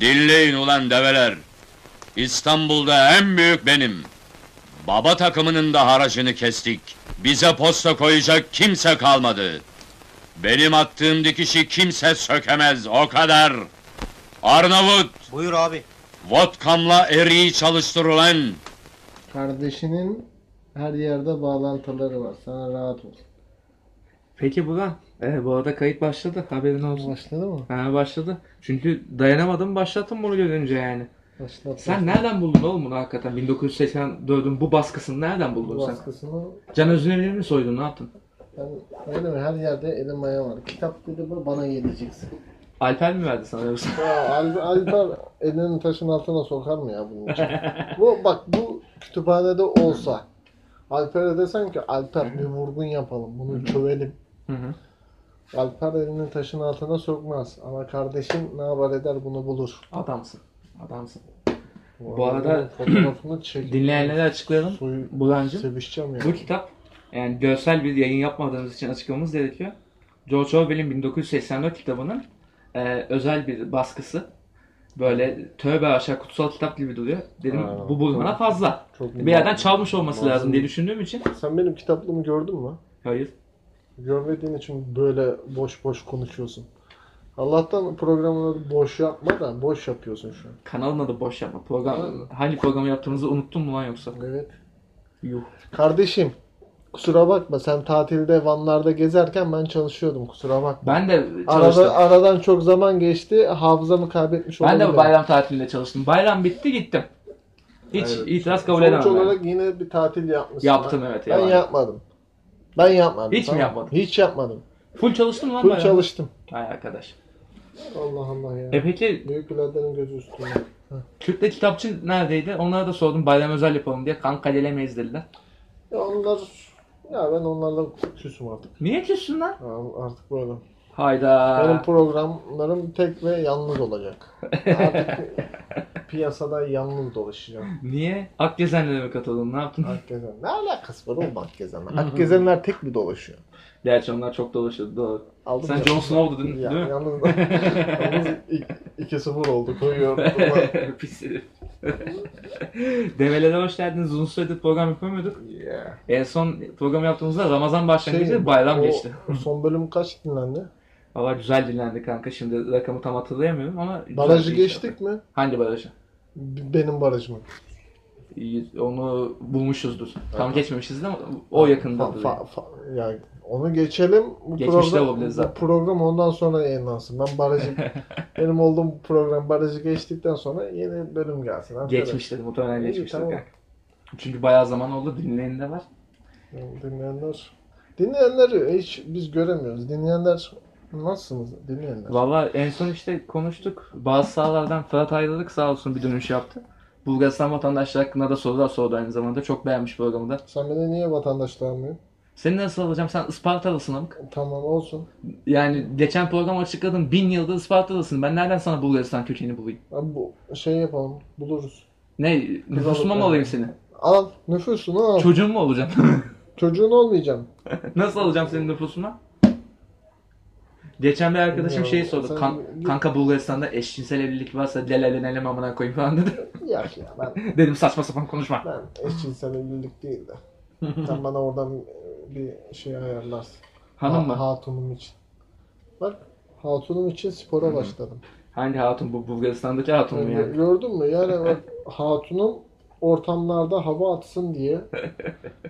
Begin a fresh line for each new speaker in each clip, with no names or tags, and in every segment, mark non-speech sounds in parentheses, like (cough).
Dilleyin ulan develer! İstanbul'da en büyük benim! Baba takımının da haracını kestik. Bize posta koyacak kimse kalmadı. Benim attığım dikişi kimse sökemez, o kadar! Arnavut,
Buyur abi.
vodkamla eriği çalıştır ulan!
Kardeşinin her yerde bağlantıları var. Sana rahat ol.
Peki Burak, e, bu arada kayıt başladı. Haberin olsun.
Başladı mı?
Ha başladı. Çünkü dayanamadım başlattım bunu görünce yani.
Başladı.
Sen nereden buldun oğlum bunu hakikaten? 1984'ün bu baskısını nereden buldun
Bu
sen?
baskısını
Can Özdemir'i mi soydun ne yaptın?
ben ne demek her yerde elim ayağım var. Kitap dedi bu bana geleceksin.
Alper mi verdi sana yoksa?
Ya Al- Alper elini taşın altına sokar mı ya bunun için?
(laughs)
bu bak bu kütüphanede olsa Alper'e desen ki Alper bir vurgun yapalım bunu çövelim.
Hı hı.
Alper elini taşın altına sokmaz ama kardeşin ne haber eder bunu bulur.
Adamsın. Adamsın.
Bu,
arada-
adamın fotoğrafını çek.
Dinleyenlere açıklayalım.
Suyu
Burancım.
sevişeceğim ya.
Bu kitap yani görsel bir yayın yapmadığımız için açıklamamız gerekiyor. George Orwell'in 1984 kitabının e, özel bir baskısı. Böyle tövbe aşağı kutsal kitap gibi duruyor. Dedim
Aa.
bu bulmana fazla.
Çok
Bir yerden çalmış olması
Lazım.
lazım diye düşündüğüm için.
Sen benim kitaplığımı gördün mü?
Hayır.
Görmediğin için böyle boş boş konuşuyorsun. Allah'tan programları boş yapma da boş yapıyorsun şu an.
Kanalın adı boş yapma.
Tamam.
Program, hangi programı yaptığımızı unuttun mu lan yoksa?
Evet.
Yuh.
Kardeşim kusura bakma sen tatilde Vanlarda gezerken ben çalışıyordum kusura bakma.
Ben de çalıştım.
Arada, aradan çok zaman geçti hafızamı kaybetmiş
ben de
olabilirim.
bayram tatilinde çalıştım. Bayram bitti gittim. Hiç
Evet.
itiraz kabul edemem.
Sonuç
ben.
olarak yine bir tatil yapmışsın.
Yaptım
Ben-
evet.
Ben
yalan.
yapmadım. Ben yapmadım.
Hiç mi yapmadın?
Hiç yapmadım.
Full çalıştım lan
Full
bayram.
çalıştım.
Ay arkadaş.
Allah Allah ya.
E peki
Büyük biraderin gözü üstüne.
Kürtle kitapçı neredeydi? Onlara da sordum bayram özel yapalım diye. Kanka gelemeyiz dediler.
Ya onlar... Ya ben onlarla küsüm artık.
Niye küssün lan?
Ya Artık böyle.
Hayda.
Benim programlarım tek ve yalnız olacak. Artık piyasada yalnız dolaşacağım.
Niye? Akgezenlere mi katıldın? Ne yaptın?
Akgezen. Ne alakası var oğlum Akgezen'le? Akgezenler tek mi dolaşıyor?
Gerçi onlar çok dolaşıyordu doğru.
Aldım
Sen
ya.
Jon Snow'dun değil
Ya,
mi?
yalnız,
(laughs)
yalnız 2-0 oldu. Koyuyorum.
(laughs) Pis herif. Develere hoş geldiniz. Uzun süredir program yapamıyorduk.
yeah.
En son program yaptığımızda Ramazan başlangıcı
Şey,
bayram
o
geçti.
Son bölüm kaç dinlendi?
Valla güzel dinlendi kanka. Şimdi rakamı tam hatırlayamıyorum ama... güzel
Barajı
bir iş
geçtik
yaptık.
mi?
Hangi barajı?
B- Benim barajım.
İyi, Onu bulmuşuzdur. Tam
Tamam.
geçmemişiz de ama o yakındadır.
Fa- fa- fa- yani onu geçelim. Bu
Geçmişte
program,
olabiliriz
bu
zaten.
program ondan sonra yayınlansın. Ben barajı
(laughs)
benim olduğum program barajı geçtikten sonra yeni bölüm gelsin. Aferin.
Geçmiştir, muhtemelen
İyi,
geçmiştir
tamam.
kanka. Çünkü bayağı zaman oldu, dinleyen de var.
Yani Dinleyenler dinleyenler hiç biz göremiyoruz. Dinleyenler nasılsınız dinleyenler?
Valla en son işte konuştuk. Bazı sahalardan Fırat Ayrılık sağ olsun bir dönüş yaptı. Bulgaristan vatandaşları hakkında da sorular sordu aynı zamanda. Çok beğenmiş programı da.
Sen beni niye vatandaşlanmıyor?
Seni nasıl alacağım? Sen Ispartalısın amk.
Tamam olsun.
Yani geçen program açıkladın. Bin yıldır Ispartalısın. Ben nereden sana Bulgaristan kökeni bulayım?
Abi bu şey yapalım buluruz.
Ne? Nüfusuma mı
alıp-
alayım seni?
Al nüfusunu al.
Çocuğun mu olacağım?
Çocuğun olmayacağım.
nasıl alacağım senin nüfusuna? Geçen bir arkadaşım
Ya,
şeyi sordu.
sen-
"Kan- kanka Bulgaristan'da eşcinsel evlilik varsa delelenelim amına koyayım falan dedi. (laughs)
Ya ya ben
Dedim saçma sapan konuşma.
ben eşcinsel evlilik
(laughs)
değil de. Sen bana oradan e, bir şey ayarlarsın.
Hanım mı?
Ha- Hatunum için. Bak hatunum için spora başladım.
Hangi hatun bu? Bulgaristan'daki hatun mu
Yani
yani?
Gördün mü? Yani bak hatunum ortamlarda hava atsın diye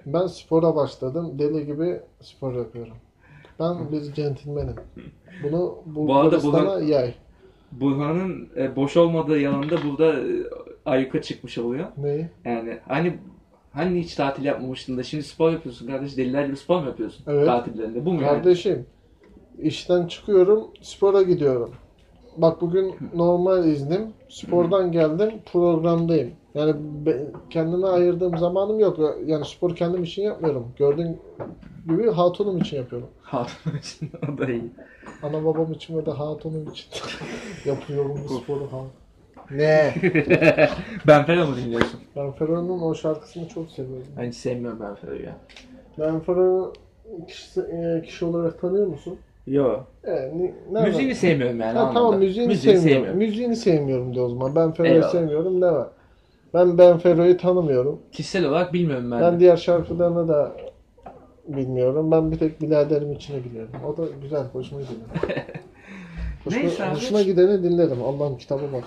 ben spora başladım. Deli gibi spor yapıyorum. Ben bir centilmenim. Bunu
arada
Bulgaristan'a
Bulgar-
yay.
Burhan'ın e, boş olmadığı yalan da burada e, ayyuka çıkmış oluyor.
Neyi?
Yani hani hani hiç tatil yapmamıştın da şimdi spor yapıyorsun kardeş. Deliler gibi spor mu yapıyorsun
Evet.
tatillerinde? Bu mu yani?
Kardeşim işten çıkıyorum spora gidiyorum. Bak bugün normal iznim. Spordan geldim programdayım. Yani be- kendime ayırdığım zamanım yok. Yani spor kendim için yapmıyorum. Gördüğün gibi hatunum için yapıyorum.
Hatun için o da iyi.
Ana babam için ve de hatunum için (laughs) yapıyorum bu sporu ha. Ne?
Ben Fero mu dinliyorsun?
Ben Fero'nun o şarkısını çok seviyorum.
Ben hiç sevmiyorum Ben Fero'yu ya.
Ben Fero'yu kişi, e, kişi olarak tanıyor musun?
Yo.
Yani, ne var?
Müziğini sevmiyorum yani.
Ha,
anlamda.
tamam müziğini, sevmiyorum. Müziğini sevmiyorum de o zaman. Ben Ferro'yu
Eyvallah.
sevmiyorum deme. Ben Ben Ferro'yu tanımıyorum.
Kişisel olarak bilmiyorum ben.
Ben,
de.
diğer şarkılarını da bilmiyorum. Ben bir tek Bilader'im içine biliyorum. O da güzel, hoşuma gidiyor.
(laughs)
hoşuma,
Neyse abi.
hoşuma gideni dinlerim. Allah'ım kitaba bak.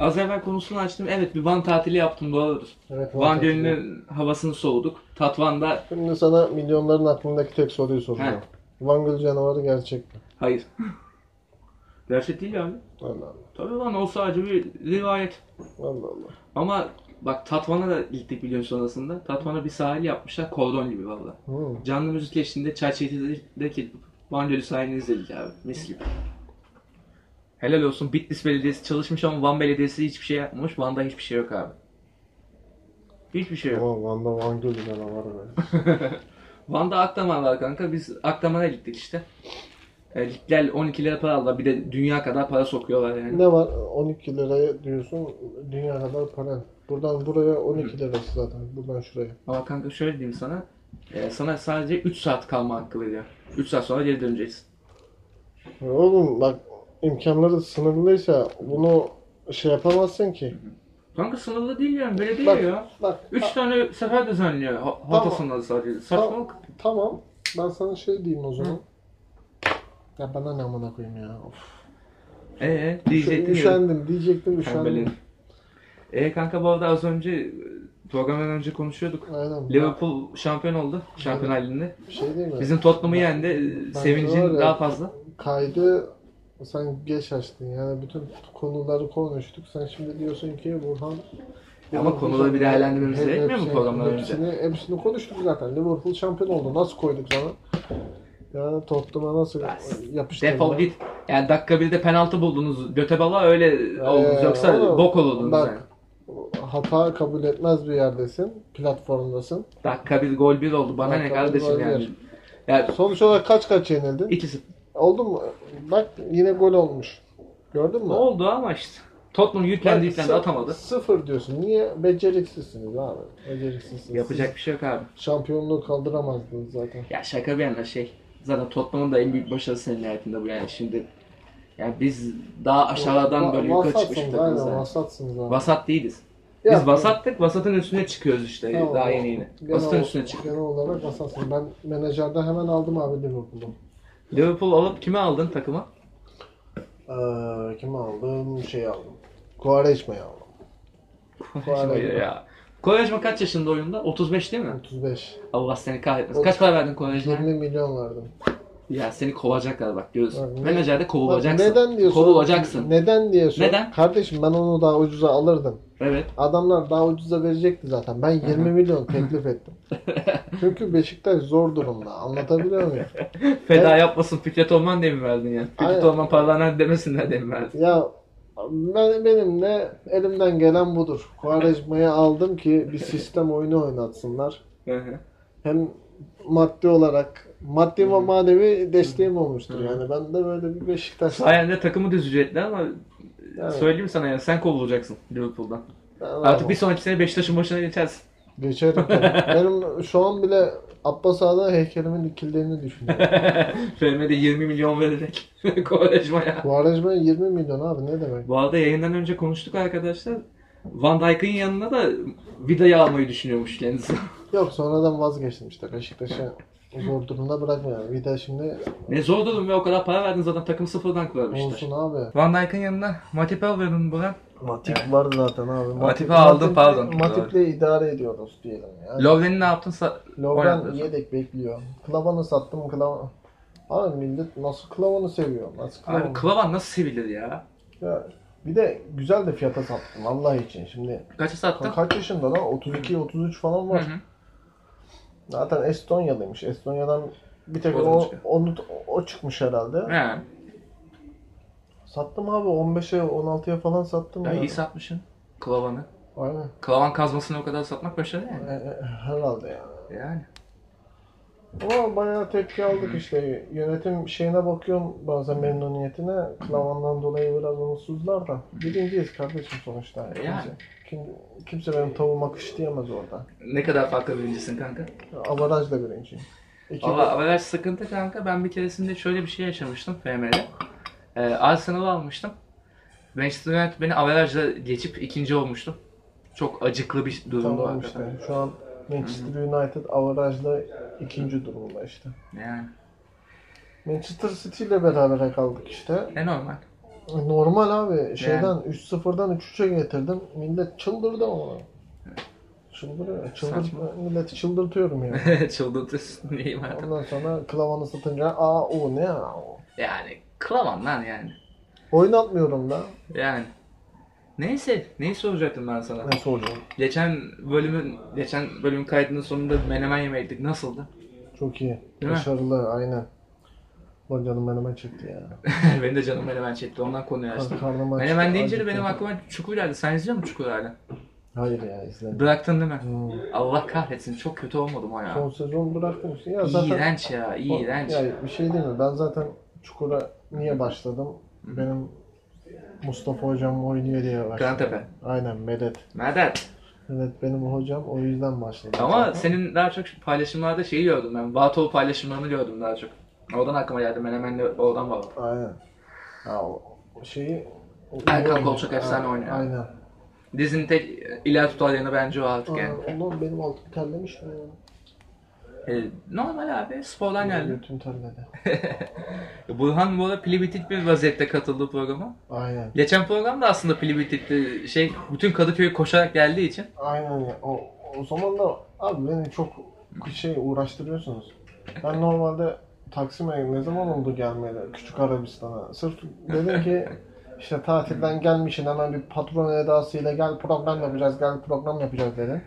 Az evvel konusunu açtım. Evet bir Van tatili yaptım doğrudur.
Evet,
Van
muhakkak.
Gölü'nün havasını soğuduk. Tatvan'da
Şimdi sana milyonların aklındaki tek soruyu soruyorum.
He.
Van Gölü canavarı gerçek mi?
hayır. (laughs) Gerçek değil yani.
Allah Allah.
Tabii lan o sadece bir rivayet.
Allah Allah.
Ama bak Tatvan'a da gittik bir gün sonrasında. Tatvan'a bir sahil yapmışlar kordon gibi valla.
Hmm.
Canlı müzik eşliğinde Çerçeğe'deki Van Gölü sahilini izledik abi. Mis gibi. Helal olsun Bitlis Belediyesi çalışmış ama Van Belediyesi hiçbir şey yapmamış. Van'da hiçbir şey yok abi. Hiçbir şey yok.
Aman Van'da Van Gölü canavarı be.
Van'da Akdaman var kanka. Biz Akdaman'a gittik işte. E, ligler 12 lira para aldılar. Bir de dünya kadar para sokuyorlar yani.
ne var? 12 liraya diyorsun. Dünya kadar para. Buradan buraya 12 lirası zaten. Buradan şuraya.
Ama kanka şöyle diyeyim sana. E, sana sadece 3 saat kalma hakkı veriyor. 3 saat sonra geri döneceksin.
Ya Oğlum bak imkanları sınırlıysa bunu şey yapamazsın ki.
Kanka sınırlı değil yani. Belediye
Bak,
ya.
bak
3
ta-
tane sefer düzenliyor. Ha- Hafta
Tamam.
sonları sadece. Saçmalık.
tamam ben sana şey diyeyim o zaman. Ya bana ne amına koyayım ya. Of.
Ee,
Üşendim,
diyecektim ya.
diyecektim
Pembelerin.
üşendim.
Ee kanka bu arada az önce e, programdan önce konuşuyorduk.
Aynen.
Liverpool şampiyon oldu. Şampiyonlar Ligi'nde.
Bir şey değil mi?
Bizim Tottenham'ı yendi. E,
ben
Sevincin
var ya-
daha fazla.
Kaydı sen geç açtın yani bütün konuları konuştuk. Sen şimdi diyorsun ki Burhan
Ama konuları bir değerlendirmemiz gerekmiyor mu
hepsini-
programdan önce?
şey, hepsini, Hepsini konuştuk zaten. Liverpool şampiyon oldu. Nasıl koyduk sana? Yani Tottenham'a nasıl yapıştırdın?
Defol git. Yani dakika 1'de penaltı buldunuz. Göte bala öyle oldunuz. Yoksa
Ee, oğlum,
bok olurdunuz
bak.
yani.
Hata kabul etmez bir yerdesin. Platformdasın.
Dakika 1 gol 1 oldu. Bana
Bak,
ne
bak,
kardeşim
gol
yani.
bir.
Ya
Sonuç olarak kaç kaç yenildin?
2-0.
Oldu mu? Bak yine gol olmuş. Gördün mü?
Oldu ama işte. Tottenham yüklendi yüklendi atamadı.
Sıfır diyorsun. Niye? Beceriksizsiniz abi. Beceriksizsiniz.
Yapacak bir şey yok abi.
Siz şampiyonluğu kaldıramazdınız zaten.
Ya şaka bir yana şey. Zaten Tottenham'ın da en büyük başarısı en nihayetinde bu yani şimdi. Yani biz daha aşağıdan böyle yukarı çıkmış bir
Vasatsınız aynen
takımız yani.
vasatsınız abi.
Vasat değiliz. Biz
Ya,
vasattık, vasatın üstüne çıkıyoruz işte
Tamam.
daha yeni yeni.
Genel
Vasatın
olarak-
üstüne çıktık.
Genel olarak vasatsın. Ben menajerde hemen aldım abi Liverpool'u.
Liverpool alıp kime aldın takıma?
Ee, kimi aldım? Şey aldım. Quaresma'yı aldım.
Koyacma ya. Koyacma kaç yaşında oyunda? 35 değil mi?
35.
Allah seni kahretmesin. Kaç para verdin Koyacma'ya?
20 milyon verdim.
Ya seni kovacaklar bak
Bak,
görüyorsun.
ne-
Menajerde kovulacaksın.
Neden diyorsun?
Kovulacaksın.
Neden diyorsun?
Neden?
Kardeşim ben onu daha ucuza alırdım.
Evet.
Adamlar daha ucuza verecekti zaten. Ben 20 milyon teklif
(laughs)
ettim. Çünkü Beşiktaş zor durumda. Anlatabiliyor
(laughs)
muyum?
Feda
Evet.
yapmasın Fikret Orman diye mi verdin yani? Fikret
Aynen.
Orman paralarına demesinler diye mi verdin?
Ya ben, benim ne elimden gelen budur. Quaresma'yı aldım ki bir sistem oyunu oynatsınlar.
Hı hı.
Hem maddi olarak maddi ve manevi desteğim olmuştur. Yani ben de böyle bir Beşiktaş.
Sayende takımı düzecekti ama
Evet.
söyleyeyim sana yani sen kovulacaksın Liverpool'dan.
Ben
Artık bir sonraki sene Beşiktaş'ın başına geçersin. (laughs)
Geçerim tabii. Benim şu an bile Abbas Ağa'da heykelimin dikildiğini
(laughs)
düşünüyorum.
FM'de 20 milyon vererek (laughs) Kovalecma'ya.
Quaresma 20 milyon abi ne demek?
Bu arada yayından önce konuştuk arkadaşlar. Van Dijk'ın yanına da Vida'yı almayı düşünüyormuş kendisi. (laughs)
Yok sonradan vazgeçtim işte Beşiktaş'ı zor durumda bırakmayalım. Bir de şimdi
ne zor durum ve o kadar para verdin zaten takım sıfırdan kurarmışlar.
olsun abi.
Van Dijk'ın yanına Matip alıyordun Burak.
Matip var zaten abi.
Matip'i aldım, pardon.
Matip'le idare ediyoruz diyelim ya.
Lovren'i ne yaptın? Sa-
Lovren
Oynadı.
yedek bekliyor. Klavan'ı sattım Klavan. Abi millet nasıl Klavan'ı seviyor? Nasıl Klavan'ı?
Abi Klavan nasıl sevilir ya?
Ya, bir de güzel de fiyata sattım Allah için. Şimdi
Kaça sattın?
kaç yaşında lan? 32-33 falan var.
Hı hı.
Zaten Estonyalıymış. Estonya'dan bir tek
O da
o,
çıkıyor.
onu, o çıkmış herhalde.
He.
Sattım abi 15'e 16'ya falan sattım.
Ya
yani.
iyi satmışsın Klavan'ı.
Aynen.
Klavan kazmasını o kadar satmak başarı yani.
E, e, herhalde yani.
Yani.
Ama bayağı tepki aldık işte. Yönetim şeyine bakıyorum bazen memnuniyetine. Klavandan dolayı biraz umutsuzlar da. Birinciyiz kardeşim sonuçta. Kimse,
Yani.
kim- kimse benim tavuğuma kış diyemez orada.
Ne kadar farklı birincisin kanka?
Avarajla birinciyim. İki
Valla averaj sıkıntı kanka. Ben bir keresinde şöyle bir şey yaşamıştım FM'de. Ee, Arsenal'ı almıştım. Manchester United beni averajla geçip ikinci olmuştum. Çok acıklı bir durum
tamam
vardı.
işte. Şu an Manchester United avarajda ikinci durumda işte.
Yani
Manchester City ile beraber kaldık işte.
ne normal. (laughs)
Normal abi şeyden 3-0'dan 3-3'e getirdim. Millet çıldırdı ama. Çıldırıyor.
Saçma.
Çıldır, milleti çıldırtıyorum
(laughs)
yani.
Çıldırtırsın diyeyim artık.
Ondan sonra klavanı satınca aa o ne ya o.
Yani kılamam lan yani.
Oynatmıyorum da.
Yani. Neyse, neyi soracaktım ben sana?
Ne soracağım?
Geçen bölümün, geçen bölümün kaydının sonunda menemen yemeydik. Nasıldı? (laughs)
Çok iyi.
Değil mi?
Başarılı aynen. Lan canım elime çıktı ya.
benim de canım menemen çekti, ondan konuyu açtım.
Karnım açtı.
Menemen deyince de benim
acıktı.
aklıma çukur geldi. Sen izliyor musun çukur hala?
Hayır ya izledim.
Bıraktın değil mi?
Hmm.
Allah kahretsin, çok kötü olmadım o ya.
Son sezon bıraktım. Ya zaten
İğrenç ya, iğrenç.
Ya bir şey değil mi? Ben zaten Çukur'a niye başladım? Benim Mustafa hocam oynuyor diye başladım.
Grantepe.
Aynen Medet.
Medet.
Evet benim hocam o yüzden başladım.
Ama
zaten.
senin daha çok paylaşımlarda şeyi gördüm ben. Vatol paylaşımlarını gördüm daha çok. Oradan aklıma geldi. Menemen'le oradan bağlı.
Aynen. Ya o o şeyi... o-
Erkan
oynuyor.
Kolçak efsane
Aynen.
oynuyor.
Aynen.
Dizinin tek ileri tutar yanı bence o artık yani.
Aa, Ulan benim altım terlemiş mi? ya?
E, normal abi spordan geldi.
Götüm terledi.
Burhan bu arada pili bitik bir vaziyette katıldı programa.
Aynen.
Geçen programda aslında pili bitikti. Şey, bütün Kadıköy'ü koşarak geldiği için.
Aynen ya. O, o zaman da abi beni çok şey uğraştırıyorsunuz. Ben normalde Taksim'e ne zaman oldu gelmeyeli Küçük Arabistan'a. Sırf dedim
(laughs)
ki işte tatilden gelmişsin hemen bir patron edasıyla gel program yapacağız gel program yapacağız dedim.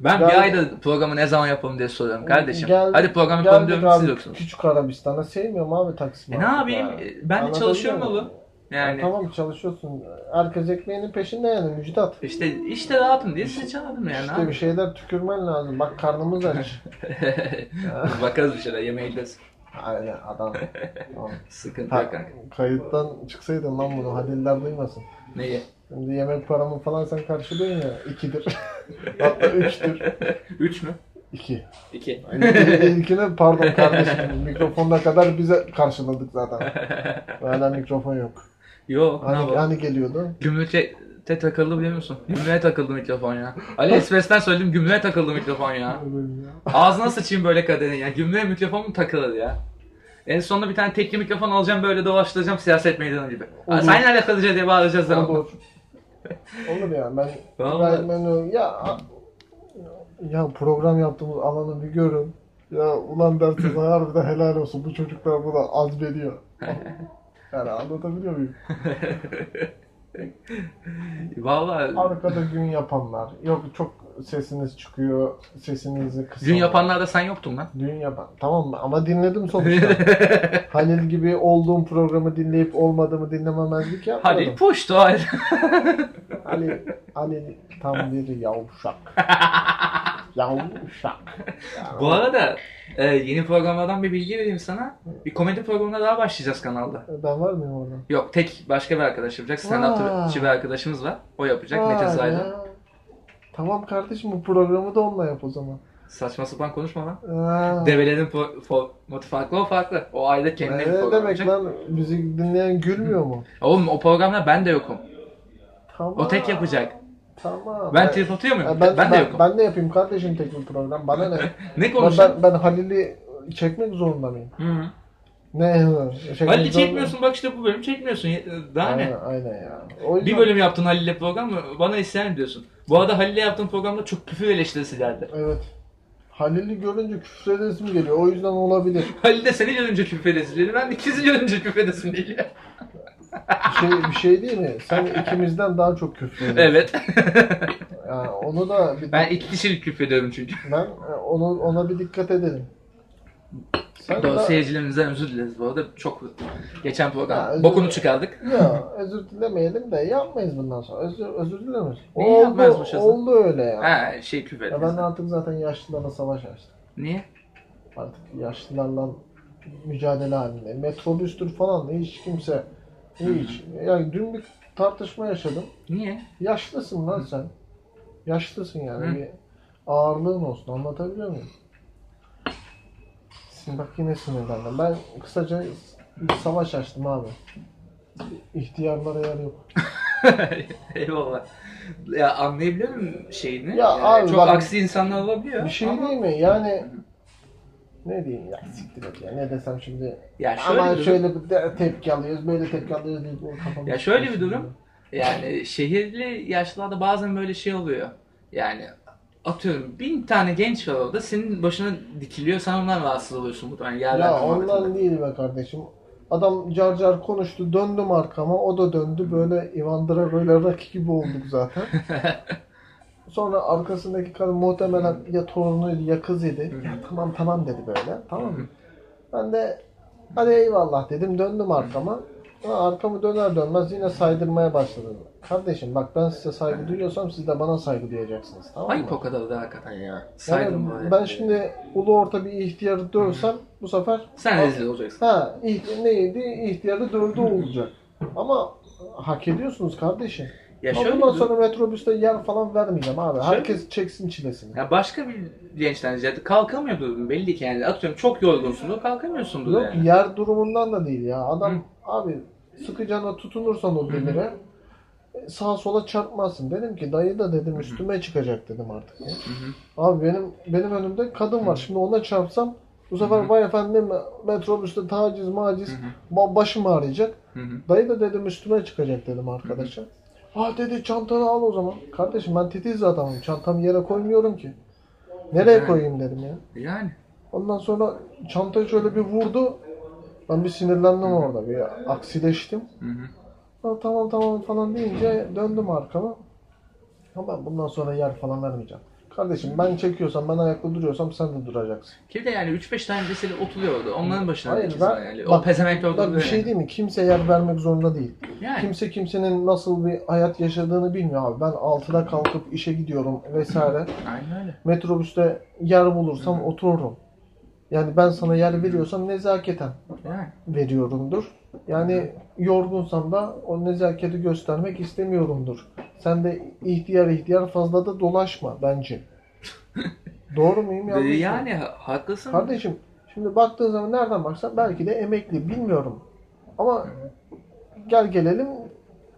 Ben
Geldi.
bir ayda programı ne zaman yapalım diye soruyorum kardeşim.
Gel-
Hadi programı
geldik
yapalım diyorum siz
abi
yoksunuz.
Küçük Arabistan'a sevmiyorum abi Taksim'i.
E ne
artık
yapayım?
ya.
E, Ben de
Anladın
çalışıyorum
mı?
oğlum.
Ya
Yani
Tamam çalışıyorsun. Herkes ekmeğinin peşinde yani Müjdat.
işte işte rahatım diye sizi çağırdım yani.
İşte
abi.
bir şeyler tükürmen lazım. Bak karnımız aç.
(laughs) Bakarız bir şeyler yemeğe gideriz.
Aynen
(laughs)
adam. Tamam.
Sıkıntı
Ha,
yok kanka.
kayıttan çıksaydın lan bunu Haliller duymasın.
Neyi?
Şimdi yemek paramı falan sen karşılıyorsun ya.
(laughs)
ikidir. Hatta üçtür.
Üç mü?
İki.
İki.
İlkini pardon kardeşim mikrofonda kadar bize karşıladık zaten.
(laughs)
Hala mikrofon yok.
Yok ne
Hani,
yapalım?
hani geliyordu?
Gümrüte te takıldı biliyor musun? Gümrüğe takıldı mikrofon ya. Ali Espres'ten söyledim gümrüğe takıldı mikrofon ya. Ağzına sıçayım böyle kaderin ya. Gümrüğe mikrofon mu takılır ya? En sonunda bir tane tekli mikrofon alacağım böyle dolaştıracağım siyaset meydanı gibi.
Olur.
Sen nerede kalacaksın diye bağıracağız lan.
Olur. Olur ya ben
Vallahi.
İbrahim Memnun- ya ya program yaptığımız alanı bir görün. Ya ulan
(clears throat)
dersiniz harbiden helal olsun bu çocuklar buna az
(laughs)
veriyor. Yani anlatabiliyor muyum?
Valla
Arkada gün yapanlar. Yok çok sesiniz çıkıyor. Sesinizi kısan.
gün yapanlarda sen yoktun lan.
Gün yapan. Tamam mı? Ama dinledim
(laughs)
sonuçta. Halil gibi olduğum programı dinleyip olmadığımı dinlememezlik yapmadım.
Hadi puştu hadi.
Ali, Ali Hani, tam bir
(laughs)
yavşak. yavşak.
Bu arada e, yeni programlardan bir bilgi vereyim sana. Bir komedi programına daha başlayacağız kanalda.
Ben var mıyım orada?
Yok tek başka bir arkadaş yapacak. Stand upçı bir arkadaşımız var. O yapacak.
Vay
Metin
be.
Zaydan.
Tamam kardeşim bu programı da onunla yap o zaman.
Saçma sapan konuşma lan.
Aa.
Develerin fo- formatı farklı o farklı. O ayrı
Ee,
kendine bir
ne
program
demek
yapacak.
lan müzik dinleyen gülmüyor mu?
Oğlum o programda ben de yokum.
Tamam.
O tek yapacak.
Tamam.
Ben
Ee,
trip atıyor muyum?
Ben,
Ben, de yokum.
ben de yapayım kardeşim tek bir program. Bana ne?
(laughs) ne
ben,
konuşuyorsun?
ben, ben Halil'i çekmek zorunda mıyım?
Hı hı.
Ne? Çekmek
Halil'i
zorunda-
çekmiyorsun bak işte bu bölüm çekmiyorsun. Ye- e, Daha
Aynen,
ne?
aynen ya. O yüzden,
Bir bölüm yaptın Halil'le program mı? Bana isyan ediyorsun. Bu arada Halil'le yaptığın programda çok küfür eleştirisi geldi. (laughs)
Evet. Halil'i görünce küfredesim geliyor. O yüzden olabilir.
Halil de seni görünce küfür edesin dedi. Ben de ikisi görünce küfür edesin değil.
Bir şey, bir şey değil mi? Sen ikimizden daha çok küfrediyorsun.
Evet.
Yani onu da bir,
ben iki kişilik küfür ediyorum çünkü.
ben e, onu ona bir dikkat edelim. Sen
Doğru,
da-
seyircilerimizden özür dileriz bu arada. Çok geçen program
Ya, özür-
bokunu çıkardık.
Ya özür dilemeyelim de yapmayız bundan sonra. Özür, özür dilemiyoruz.
Niye
Oldu,
yapmazmışız?
oldu öyle ya.
Ha şey küfür
ya.
ederiz.
Ben artık zaten yaşlılarla savaş açtım.
Niye?
Artık yaşlılarla mücadele halinde. Metrobüstür falan da hiç kimse hiç. Yani dün bir tartışma yaşadım.
Niye? (laughs)
Yaşlısın lan sen. Yaşlısın yani.
Hı.
Bir ağırlığın olsun. Anlatabiliyor muyum? Bak yine sinirlendim. Ben kısaca bir savaş açtım abi. İhtiyarlara yer yok.
Eyvallah. Ya anlayabiliyorum şeyini.
Ya
Yani
abi
çok
bak-
aksi insanlar olabiliyor.
Bir şey
ama-
değil mi? Yani ne diyeyim ya siktir et ya. Ne desem şimdi.
Ya şöyle
Ama
bir durum-
şöyle bir de- tepki alıyoruz, böyle tepki alıyoruz diye bu kafamı
Ya şöyle bir durum. Yani şehirli yaşlılarda bazen böyle şey oluyor. Yani atıyorum bin tane genç var orada senin başına dikiliyor sen ondan rahatsız oluyorsun muhtemelen. yerden
Ya
kalmaktan.
ondan değil be kardeşim. Adam car car konuştu, döndüm arkama, o da döndü. Böyle Ivan Drago'yla Rocky gibi olduk zaten. Sonra arkasındaki kadın muhtemelen ya torunuydu ya kızıydı. Ya tamam tamam dedi böyle. Tamam mı? Ben de hadi eyvallah dedim, döndüm arkama. Ha, arkamı döner dönmez yine saydırmaya başladı. Kardeşim bak ben size saygı duyuyorsam siz de bana saygı duyacaksınız. Tamam mı?
Ayıp o kadar da hakikaten ya.
Yani
Saydım böyle.
ben şimdi ulu orta bir ihtiyarı dövsem bu sefer
Sen rezil olacaksın.
Ha, iht- neydi? İhtiyarı dördü olacak. Ama hak ediyorsunuz kardeşim.
Ya
Ama
şöyle bir
Bundan
durum.
sonra metrobüste yer falan vermeyeceğim abi.
Şöyle-
Herkes çeksin çilesini.
Ya başka bir gençten ziyade kalkamıyordu belli ki yani atıyorum çok yorgunsundur kalkamıyorsundur
Yok
yani.
yer durumundan da değil ya. Adam
Hı.
abi sıkı cana tutunursan o demire sağa sola çarpmazsın. Dedim ki dayı da dedim üstüme çıkacak dedim artık. ya. Abi benim benim önümde kadın var. Şimdi ona çarpsam bu sefer vay efendim metrobüste taciz maciz ba- başım ağrıyacak.
Hı hı.
Dayı da dedim üstüme çıkacak dedim arkadaşa. Ah dedi çantanı al o zaman. Kardeşim ben titiz adamım. Çantamı yere koymuyorum ki. Nereye
Hı.
koyayım dedim ya.
Yani.
Ondan sonra çantayı şöyle bir vurdu. Ben bir sinirlendim orada. Bir aksileştim.
Hı hı.
Ha, tamam tamam falan deyince döndüm arkama. Ama ben bundan sonra yer falan vermeyeceğim. Kardeşim ben çekiyorsam, ben ayakta duruyorsam sen de duracaksın.
Ki de yani 3-5 tane liseli oturuyor orada. Onların başına
Hayır,
Hayır,
ben-
yani. o
bak-
pezevenk orada.
Bak bir
duruyor
şey
yani.
değil mi? Kimse yer vermek zorunda değil.
Yani.
Kimse kimsenin nasıl bir hayat yaşadığını bilmiyor abi. Ben 6'da kalkıp işe gidiyorum vesaire.
Aynen öyle.
Metrobüste yer bulursam otururum. Yani ben sana yer veriyorsam nezaketen
Yani.
veriyorumdur. Yani yorgunsam da o nezaketi göstermek istemiyorumdur. Sen de ihtiyar ihtiyar fazla da dolaşma
(laughs)
bence. Doğru muyum
Ve
yanlış mı?
yani ha- haklısın.
Kardeşim şimdi baktığın zaman nereden baksan belki de emekli bilmiyorum. Ama gel gelelim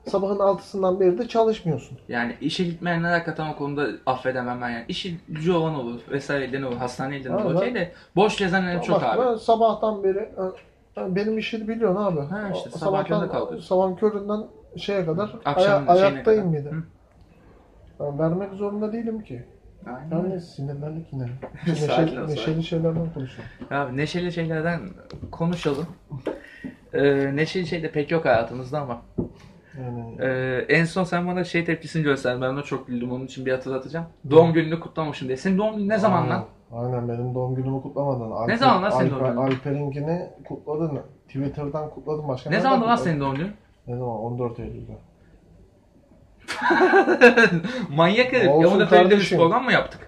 sabahın altısından beri de çalışmıyorsun.
Yani işe gitmeyenler hakikaten o konuda affedemem ben yani. İşi gücü olan olur vesaire elden olur, hastane elden
Ama
olur.
ben-
Okey de boş gezenler çok
Bak
abi.
ben sabahtan beri ben- benim işi biliyorsun abi.
Ha işte,
O-
sabah köründe
sabahtan-
kalkıyorsun.
Sabahın köründen şeye kadar
Akşamın
aya-
şeyine
ayaktayım bir
kadar.
de.
Hı.
Ben vermek zorunda değilim ki.
Aynen öyle.
Yani sinirlendik
(laughs)
yine. Neşe-
Sakin ol, sakin.
neşeli şeylerden konuşuyorum.
Abi neşeli şeylerden konuşalım. Ee, neşeli şey de pek yok hayatımızda ama.
Yani
Ee, en son sen bana şey tepkisini gösterdin. Ben ona çok güldüm. Onun için bir hatırlatacağım. Doğum gününü kutlamışım diye. Senin doğum günün ne zaman lan?
Aynen benim doğum günümü kutlamadın. Alper-
zaman lan senin
Alper-
doğum günün?
Alper'inkini kutladın. Twitter'dan kutladın başka
Ne
nereden
zaman lan
kutladın?
senin doğum günün? (laughs)
Ne zaman? 14 Eylül'de.
Manyak herif.
Olsun
Yavuz Efe'yle bir
kardeşim.
program mı yaptık?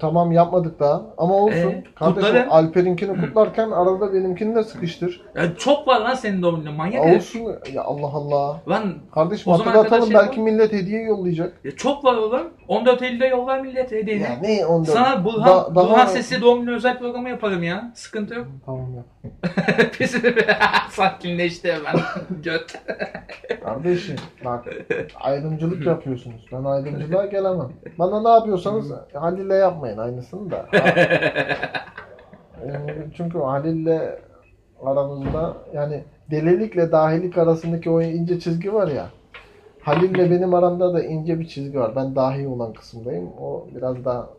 Tamam yapmadık daha ama olsun.
Ee,
Kardeşim
kutlarım.
Alper'inkini kutlarken arada benimkini de sıkıştır.
Ya çok var lan senin doğum günün. Manyak herif.
olsun. Ya Allah Allah.
Lan
Kardeşim
O zaman
hatırlatalım
arkadaş
belki millet hediye yollayacak.
ya çok var oğlum. 14 Eylül'de yollar millet hediyeni.
Ya ne 14?
Ee, Sana Burhan,
Da- daha-
Burhan Sesli doğum günü özel programı yaparım ya. Sıkıntı yok. (laughs)
Tamam ya.
Pis- (laughs) Sakinleşti (laughs) hemen. Göt.
Kardeşim bak ayrımcılık yapıyorsunuz. Ben ayrımcılığa gelemem. Bana ne yapıyorsanız Halil'le yapmayın aynısını da. Ee, Çünkü Halil'le aramızda yani delilikle dahilik arasındaki o ince çizgi var ya. Halil'le benim aramda da ince bir çizgi var. Ben dahi olan kısımdayım. O biraz daha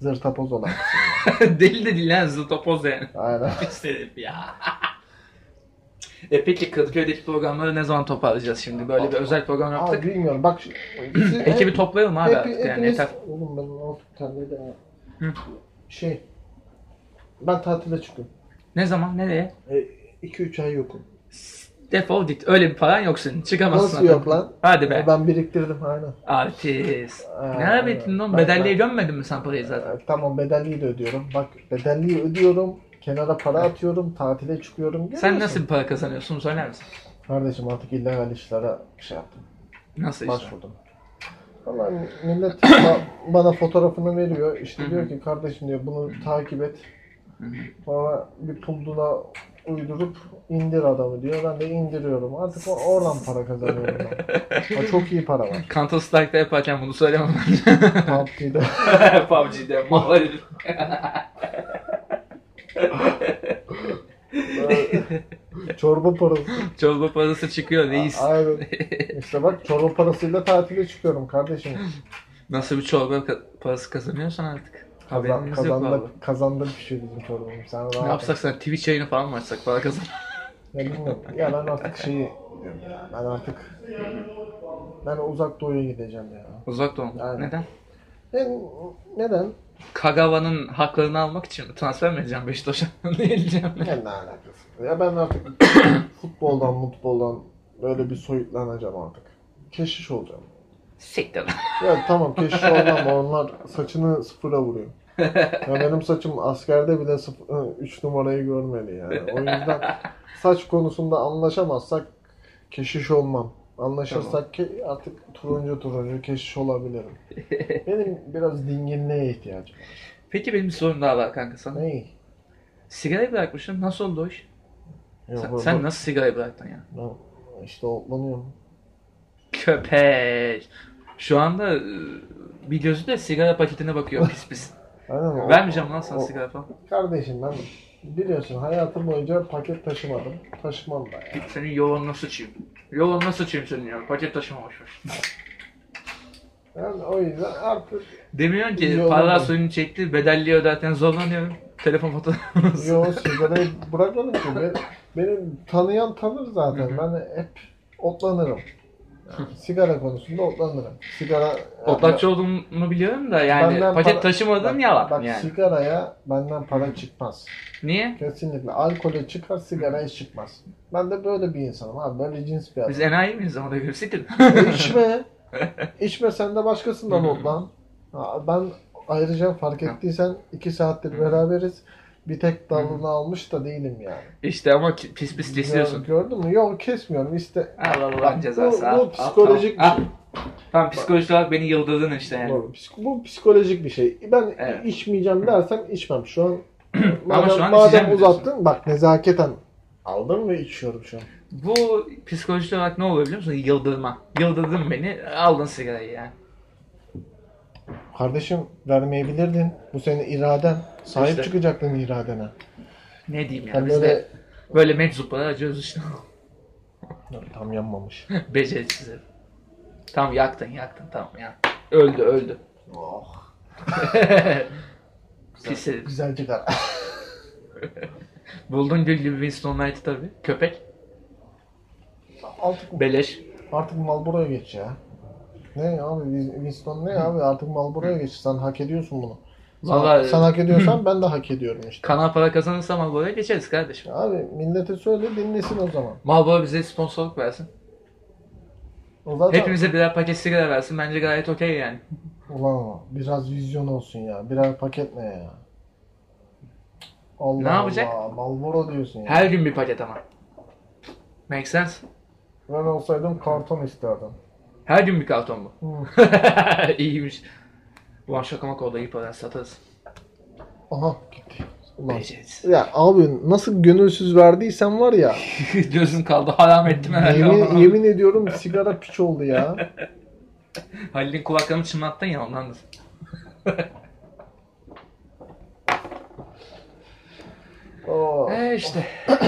zırtapoz olan kısımda.
Deli de değil lan zıltopoz yani. (laughs)
Aynen.
Pis herif ya. (laughs) E peki Kadıköy'deki programları ne zaman toparlayacağız şimdi? Böyle bir özel program
Abi
yaptık.
bilmiyorum. Bak şu- bizi-
Ekibi toplayalım abi
Hep,
artık yani
hepiniz-
yeter.
Oğlum ben altı tane de-
Hı.
Şey. Ben tatile çıkıyorum.
Ne zaman nereye?
2-3 ay yokum.
Defol git. Öyle bir paran yok senin. Çıkamazsın.
Nasıl
zaten.
yok lan?
Hadi be.
Ben biriktirdim aynen.
Artist.
Aa,
ne ara ettin lan?
ben-
Bedelliye
ben-
gömmedin mi sen parayı zaten?
Ee, Tamam bedelliyi de ödüyorum. Bak bedelliyi ödüyorum. Kenara para atıyorum. Tatile çıkıyorum.
Sen
Görüyorsun.
nasıl bir para kazanıyorsun söyler misin?
Kardeşim artık illegal işlere şey yaptım.
Nasıl işte?
Başvurdum. Valla (coughs) millet ba- bana fotoğrafını veriyor. İşte diyor ki kardeşim diyor bunu takip et. Sonra bir puldula uydurup indir adamı diyor. Ben de indiriyorum. Artık o- oradan para kazanıyorum
(laughs)
ben. Ama çok iyi para var.
Counter Strike'da yaparken bunu söylemem
(laughs)
(laughs)
PUBG'de.
ben. PUBG'de mal herif.
Böyle Çorba parası.
Çorba parası çıkıyor reis.
Aynen. İşte bak çorba parasıyla tatile çıkıyorum kardeşim.
Nasıl bir çorba ka- parası kazanıyorsan artık.
Kazan,
Haberimiz yok
kazanda,
valla.
kazanda pişiyor şey bizim çorbamız. Sen rahat
Ne
et.
yapsak sen Twitch yayını falan mı açsak para kazan. (laughs)
Ya bilmiyorum. Ya ben artık şeyi diyorum ya. Ben artık ben uzak doğuya gideceğim ya.
Uzak doğum.
Aynen.
Neden?
Ben neden?
Kagawa'nın haklarını almak için mi? Transfer mi edeceğim Beşiktaş'a? (laughs) ne edeceğim?
Ya ne alakası? var? Ya ben artık (coughs) futboldan, futboldan böyle bir soyutlanacağım artık. Keşiş olacağım.
Siktir lan.
Ya tamam keşiş olmam ama onlar saçını sıfıra vuruyor. Ya benim saçım askerde bile 3 numarayı görmedi yani. O yüzden saç konusunda anlaşamazsak keşiş olmam. Anlaşırsak ki artık turuncu turuncu keşiş olabilirim. Benim biraz dinginliğe ihtiyacım var.
Peki benim bir sorum daha var kanka sana.
Ne?
Sigarayı bırakmışsın. Nasıl oldu o iş?
Yok,
Sen,
yok,
sen
yok.
nasıl sigarayı bıraktın ya?
Ben işte otlanıyorum.
Köpek. Şu anda e, bir gözü de sigara paketine bakıyor
(laughs)
pis pis.
Aynen, o-
Vermeyeceğim lan sana
o-
sigara falan.
Kardeşim ben biliyorsun hayatım boyunca paket taşımadım. Taşımam da yani.
Git senin yoğunluğuna sıçayım. Yoğunluğuna sıçayım senin ya. Paket taşımamışmış.
Yani o yüzden artık
Demiyorsun ki
Yoğun
para
olmadı.
suyunu çekti, bedelli öderken zorlanıyorum.
(laughs)
Telefon fotoğrafı.
yo sigarayı bırakmadım ki. Ben, beni tanıyan tanır zaten. Ben hep otlanırım. Yani sigara konusunda otlanırım. Sigara...
Otlakçı olduğumu biliyorum da yani
Benden
paket
para-
taşımadığın
Bak-
yalan
Bak
yani.
sigaraya benden para çıkmaz.
Niye?
Kesinlikle. Alkole çıkar, sigaraya çıkmaz. Ben de böyle bir insanım abi. Böyle cins bir adam.
Biz enayi miyiz ona
(laughs)
göre siktir.
E,
(laughs)
içme. İçme sen de başkasından ol lan. Ha, Ben ayrıca fark ettiysen iki saattir beraberiz. Bir tek dalını almış da değilim yani.
işte ama ki- pis pis
Gör-
kesiyorsun.
Gördün mü? Yok kesmiyorum. İşte
Allah
Bak,
Allah
bu-
cezası.
bu
al, al,
psikolojik
al,
bir
al.
şey.
Tam psikolojik olarak beni yıldırdın işte yani.
bu, psik- bu psikolojik bir şey. Ben
Evet.
içmeyeceğim dersen içmem. Şu an
(clears throat) Ama
madem,
şu an içeceğim
madem
diyorsun.
uzattın bak nezaketen aldım ve içiyorum şu an.
Bu psikolojik olarak ne oluyor biliyor musun? Yıldırma. Yıldırdın beni, aldın sigarayı yani.
Kardeşim vermeyebilirdin. Bu senin iraden. Sahip
İşte.
çıkacaktın iradene.
Ne diyeyim ya
Sen
biz
böyle
de böyle meczuplara acıyoruz işte. (laughs)
tam yanmamış.
Beceriksiz herif. Tam yaktın yaktın tamam ya. Öldü öldü. (laughs)
oh.
Pis herif.
Güzel çıkar.
Buldun gül gibi Winston Knight'ı tabii. Köpek.
Artık,
Beleş.
artık Marlboro'ya geç ya. Ne abi Winston ne abi artık Marlboro'ya geç. Sen hak ediyorsun bunu. Sen,
Vallahi-
sen hak ediyorsan ben de hak ediyorum işte.
Kanal para kazanırsam Marlboro'ya geçeriz kardeşim.
Abi millete söyle dinlesin o zaman.
Marlboro bize sponsorluk versin.
O zaten
Hepimize birer paket sigara versin. Bence gayet okey yani.
Ulan biraz vizyon olsun ya. Birer paket ne ya? Allah
Ne yapacak?
Allah. Marlboro diyorsun ya.
Her gün bir paket ama. Make sense.
Ben olsaydım karton isterdim.
Her gün bir karton bu.
Hı.
(laughs) İyiymiş. Ulan şakamak oldu iyi para satarız.
Aha gitti. Ulan.
Beceriksiz.
Ya abi nasıl gönülsüz verdiysen var ya.
(laughs) Gözüm kaldı haram ettim herhalde.
yemin,
ama.
yemin ediyorum sigara piç oldu ya.
(laughs) Halil'in kulaklarını çınlattın ya ondandır.
Oo.
Ee işte. (clears throat)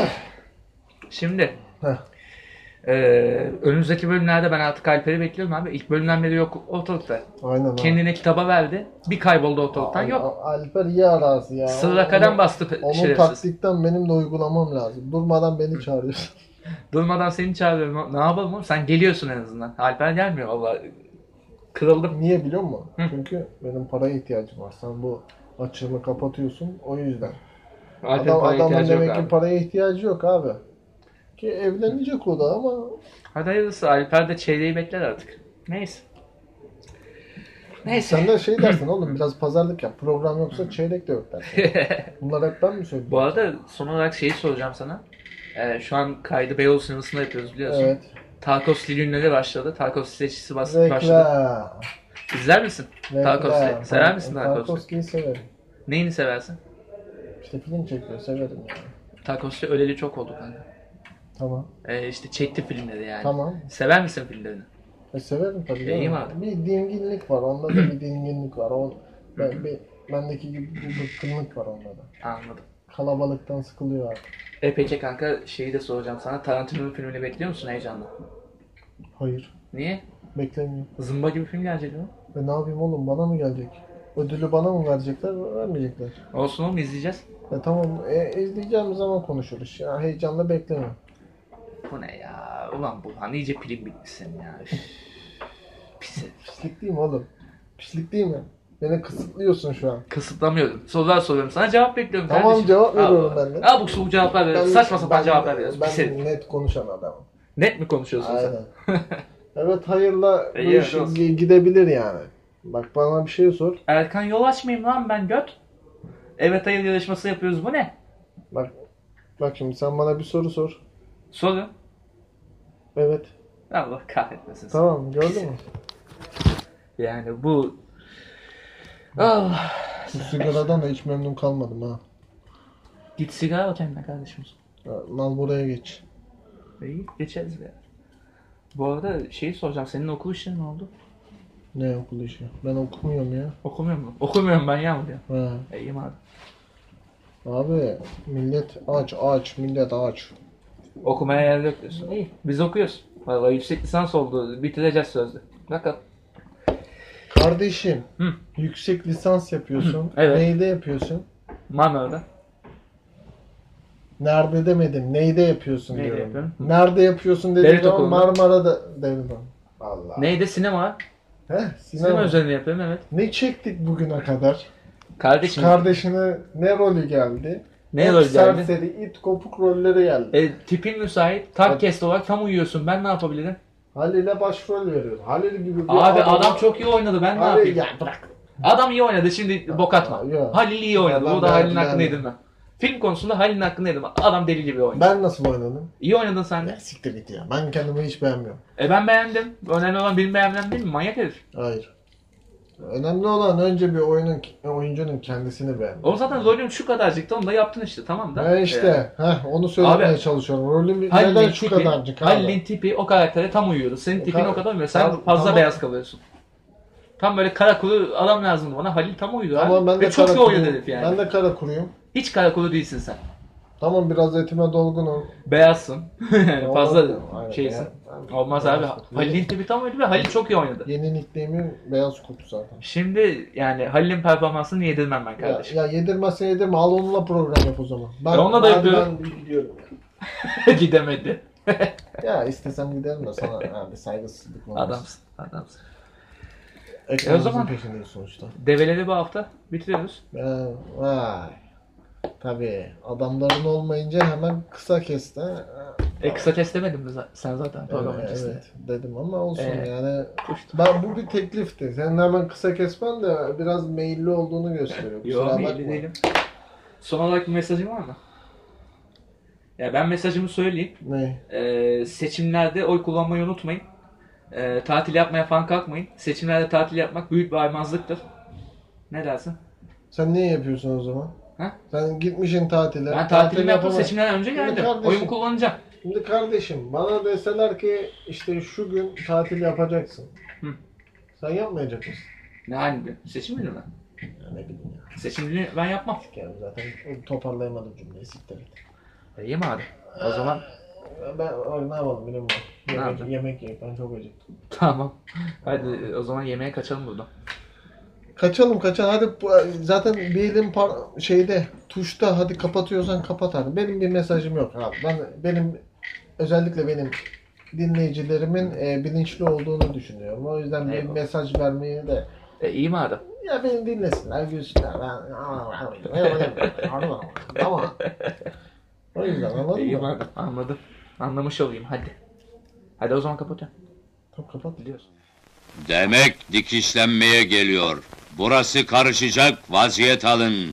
Şimdi.
Heh.
Ee, önümüzdeki bölümlerde ben artık Alper'i bekliyorum abi. İlk bölümden beri yok ortalıkta.
Aynen abi.
Kendine kitaba verdi. Bir kayboldu ortalıktan.
Al-
Yok.
Al- Alper iyi arası ya.
Sırra kadem
Onun-
bastı pe-
Onun
şerefsiz.
taktikten benim de uygulamam lazım. Durmadan beni çağırıyorsun. (laughs)
Durmadan seni çağırıyorum. Ne yapalım oğlum? Sen geliyorsun en azından. Alper gelmiyor valla. Kırıldım.
Niye biliyor musun?
Hı.
Çünkü benim paraya ihtiyacım var. Sen bu açığımı kapatıyorsun. O yüzden.
Alper
Adam,
paraya
adamın
ihtiyacı yok
demek
abi.
ki paraya ihtiyacı yok abi. Ki evlenecek o da ama
Hadi hayırlısı. Alper de çeyreği bekler artık. Neyse. Neyse.
sen de şey dersin oğlum biraz pazarlık yap. Program yoksa çeyrek de yok
(laughs)
dersin. Bunlar hep ben mi söylüyorum?
Bu arada son olarak şeyi soracağım sana. Ee, şu an kaydı Beyoğlu sinemasında yapıyoruz biliyorsun.
Evet.
Tarkovski günleri başladı. Tarkovski seçkisi bas- başladı.
Reklam.
İzler misin? Tarkovski.
Reklam.
Sever misin Tarkovski?
Tarkovski'yi severim.
Neyini seversin?
İşte film çekiyor severim yani.
Tarkovski öleli çok oldu kanka.
Tamam.
Ee, işte çekti filmleri yani.
Tamam.
Sever misin filmlerini?
E severim tabii.
Şey
canım.
var.
Bir dinginlik var. Onda da bir dinginlik var. O ben, bir, bendeki gibi bir bıkkınlık var onda da.
Anladım.
Kalabalıktan sıkılıyor artık.
E peki kanka şeyi de soracağım sana. Tarantino'nun filmini bekliyor musun heyecanla?
Hayır.
Niye?
Beklemiyorum.
Zımba gibi film gelecek ama.
Ve ne yapayım oğlum? Bana mı gelecek? Ödülü bana mı verecekler? Vermeyecekler.
Olsun oğlum izleyeceğiz.
E tamam. E, izleyeceğimiz zaman konuşuruz. Ya, heyecanla bekleme.
Bu ne ya? Ulan Burhan iyice pilim bitmişsin ya. Üf. Pis herif.
Pislik değil mi oğlum? Pislik değil mi? Beni kısıtlıyorsun şu an.
Kısıtlamıyorum. Sorular soruyorum sana cevap bekliyorum
Tamam,
kardeşim.
cevap
Al
veriyorum
bakalım.
ben de.
Al bu soru cevaplar veriyoruz. Saçma sapan cevaplar veriyoruz. Pis herif.
Ben net konuşan adamım.
Net mi konuşuyorsun sen?
Aynen.
(laughs)
evet hayırla bu
İyi,
iş
olsun.
gi- gidebilir yani. Bak bana bir şey sor.
Erkan yol açmayayım lan ben göt. Evet hayır yarışması yapıyoruz bu ne?
Bak bak şimdi sen bana bir soru sor.
Soru.
Evet.
Allah kahretmesin. seni.
Tamam gördün mü?
Yani bu... Ah.
(laughs) Bu sigaradan da hiç memnun kalmadım ha.
Git sigara al kendine kardeşim.
Ya, Mal buraya geç.
İyi geçeriz be. Bu arada şeyi soracağım. Senin okul işleri ne oldu?
Ne okul işi? Ben okumuyorum ya.
Okumuyor mu? Okumuyorum ben ya mı diyor.
Ha.
E, İyiyim abi.
Abi millet aç aç millet aç.
Okumaya yer yok diyorsun. İyi. Biz okuyoruz. Vallahi yüksek lisans oldu. Bitireceğiz sözde. Bakalım.
Kardeşim
Hı.
yüksek lisans yapıyorsun.
Evet.
Neyde yapıyorsun?
Marmara'da.
Nerede demedim. Neyde yapıyorsun
Neyde
diyorum.
yapıyorum?
Nerede yapıyorsun dediğim
Devlet
zaman
okulunda.
Marmara'da devlet okulu. Allah.
Neydi? Sinema.
Heh,
Sinema,
sinema.
üzerine yapıyorum evet.
Ne çektik bugüne kadar?
Kardeşim
Kardeşine ne rolü geldi?
ne
Hep
rol geldi?
Serseri, it kopuk rolleri geldi.
E, tipin müsait. Tam kest olarak tam uyuyorsun. Ben ne yapabilirim?
Halil'e başrol veriyor. Halil gibi bir
Abi adam çok iyi oynadı. Ben ne
Halil
yapayım?
ya bırak.
Adam iyi oynadı. Şimdi bok atma.
Ya, ya.
Halil iyi oynadı.
Adam
Bu da Halil'in
verdi,
hakkını
verdi.
yedim ben. Film konusunda Halil'in hakkını yedim. Adam deli gibi oynadı.
Ben nasıl oynadım?
İyi oynadın sen de.
Ya siktir git ya. Ben kendimi hiç beğenmiyorum.
E ben beğendim. Önemli olan benim beğenmem değil mi? Manyak herif.
Hayır. Önemli olan önce bir oyunun oyuncunun kendisini beğenmek.
Oğlum zaten rolün şu kadarcıktı. Onu da yaptın işte. Tamam da.
Ben E işte heh, onu söylemeye
Abi-
çalışıyorum. Rolün bir- neden
Halil'in
şu
tipi,
kadarcık abi?
Halil'in tipi o karaktere tam uyuyordu. Senin tipin
Kar-
o kadar uymuyor. Sen
Tamam,
fazla
tamam.
beyaz kalıyorsun. Tam böyle kara kuru adam lazımdı bana. Halil tam uyudu abi.
Tamam ben de
Ve çok iyi
kara
oynadı
kuruyum.
herif yani.
Ben de kara kuruyum.
Hiç kara kuru değilsin sen.
Tamam biraz etime dolgunum.
Beyazsın. (laughs) fazla
Aynen,
şeysin.
yani-
Olmaz
Beyaz
abi.
kuruyum.
Halil'in tipi tam uyudu ve Halil çok iyi oynadı.
Yeni nickname'im beyaz kutu zaten.
Şimdi yani Halil'in performansını yedirmem ben
Ya,
kardeşim.
ya yedirmezsen yedirme. Al onunla program yap o zaman. Ben,
E onunla da
ben-
yapıyorum.
Ben gidiyorum.
(laughs) Gidemedi.
Ya istesem giderim de sana abi saygısızlık olmaz.
Adamsın. Adamsın.
Ekranımızın
E o zaman-
peşindeyiz sonuçta.
Develeri bu hafta bitiriyoruz.
Ya, vay. Tabii adamların olmayınca hemen kısa kesti. ha.
E kısa test demedim mi za- sen zaten program
Evet,
öncesinde?
evet, dedim ama olsun
Evet.
yani.
Koştum.
Ben bu bir teklifti. Senin hemen kısa kesmen de biraz meyilli olduğunu gösteriyor. Kusura
Yok
bakma.
belli değilim. Son olarak bir mesajın var mı? Ya ben mesajımı söyleyeyim.
Ne?
Ee, seçimlerde oy kullanmayı unutmayın. Ee, tatil yapmaya falan kalkmayın. Seçimlerde tatil yapmak büyük bir aymazlıktır. Ne dersin?
Sen niye yapıyorsun o zaman?
Ha?
Sen gitmişsin tatile. tatil
Ben tatilimi yaptım seçimden önce
Şimdi
geldim.
kardeşim-
Oyumu kullanacağım.
Şimdi kardeşim bana deseler ki işte şu gün tatil yapacaksın.
Hı.
Sen yapmayacak mısın?
Ne hangi gün? Seçim günü mü?
Ya ne bileyim ya.
Seçim günü ben yapmam.
Yani zaten toparlayamadım cümleyi. Siktir et.
E, İyi madem. O zaman
Ben ay, ne yapalım biliyor musun?
Ne
Yemek,
yaptın?
yemek yiyip ben çok acıktım.
(laughs) tamam. Hadi o zaman yemeğe kaçalım buradan.
Kaçalım kaçalım hadi bu- zaten bir elim par- şeyde tuşta hadi kapatıyorsan kapat hadi. Benim bir mesajım yok abi. Ben benim özellikle benim dinleyicilerimin e, bilinçli olduğunu düşünüyorum. O yüzden bir
Eyvallah.
mesaj vermeyi de
E, iyi madem.
Ya beni dinlesinler, gülsünler. Ben... Tamam. O yüzden anladın
İyi
mı?
madem. Anladım. Anlamış olayım hadi. Hadi o zaman kapatıyorum.
Tamam kapat.
Biliyorsun.
Demek dikişlenmeye geliyor. Burası karışacak vaziyet alın.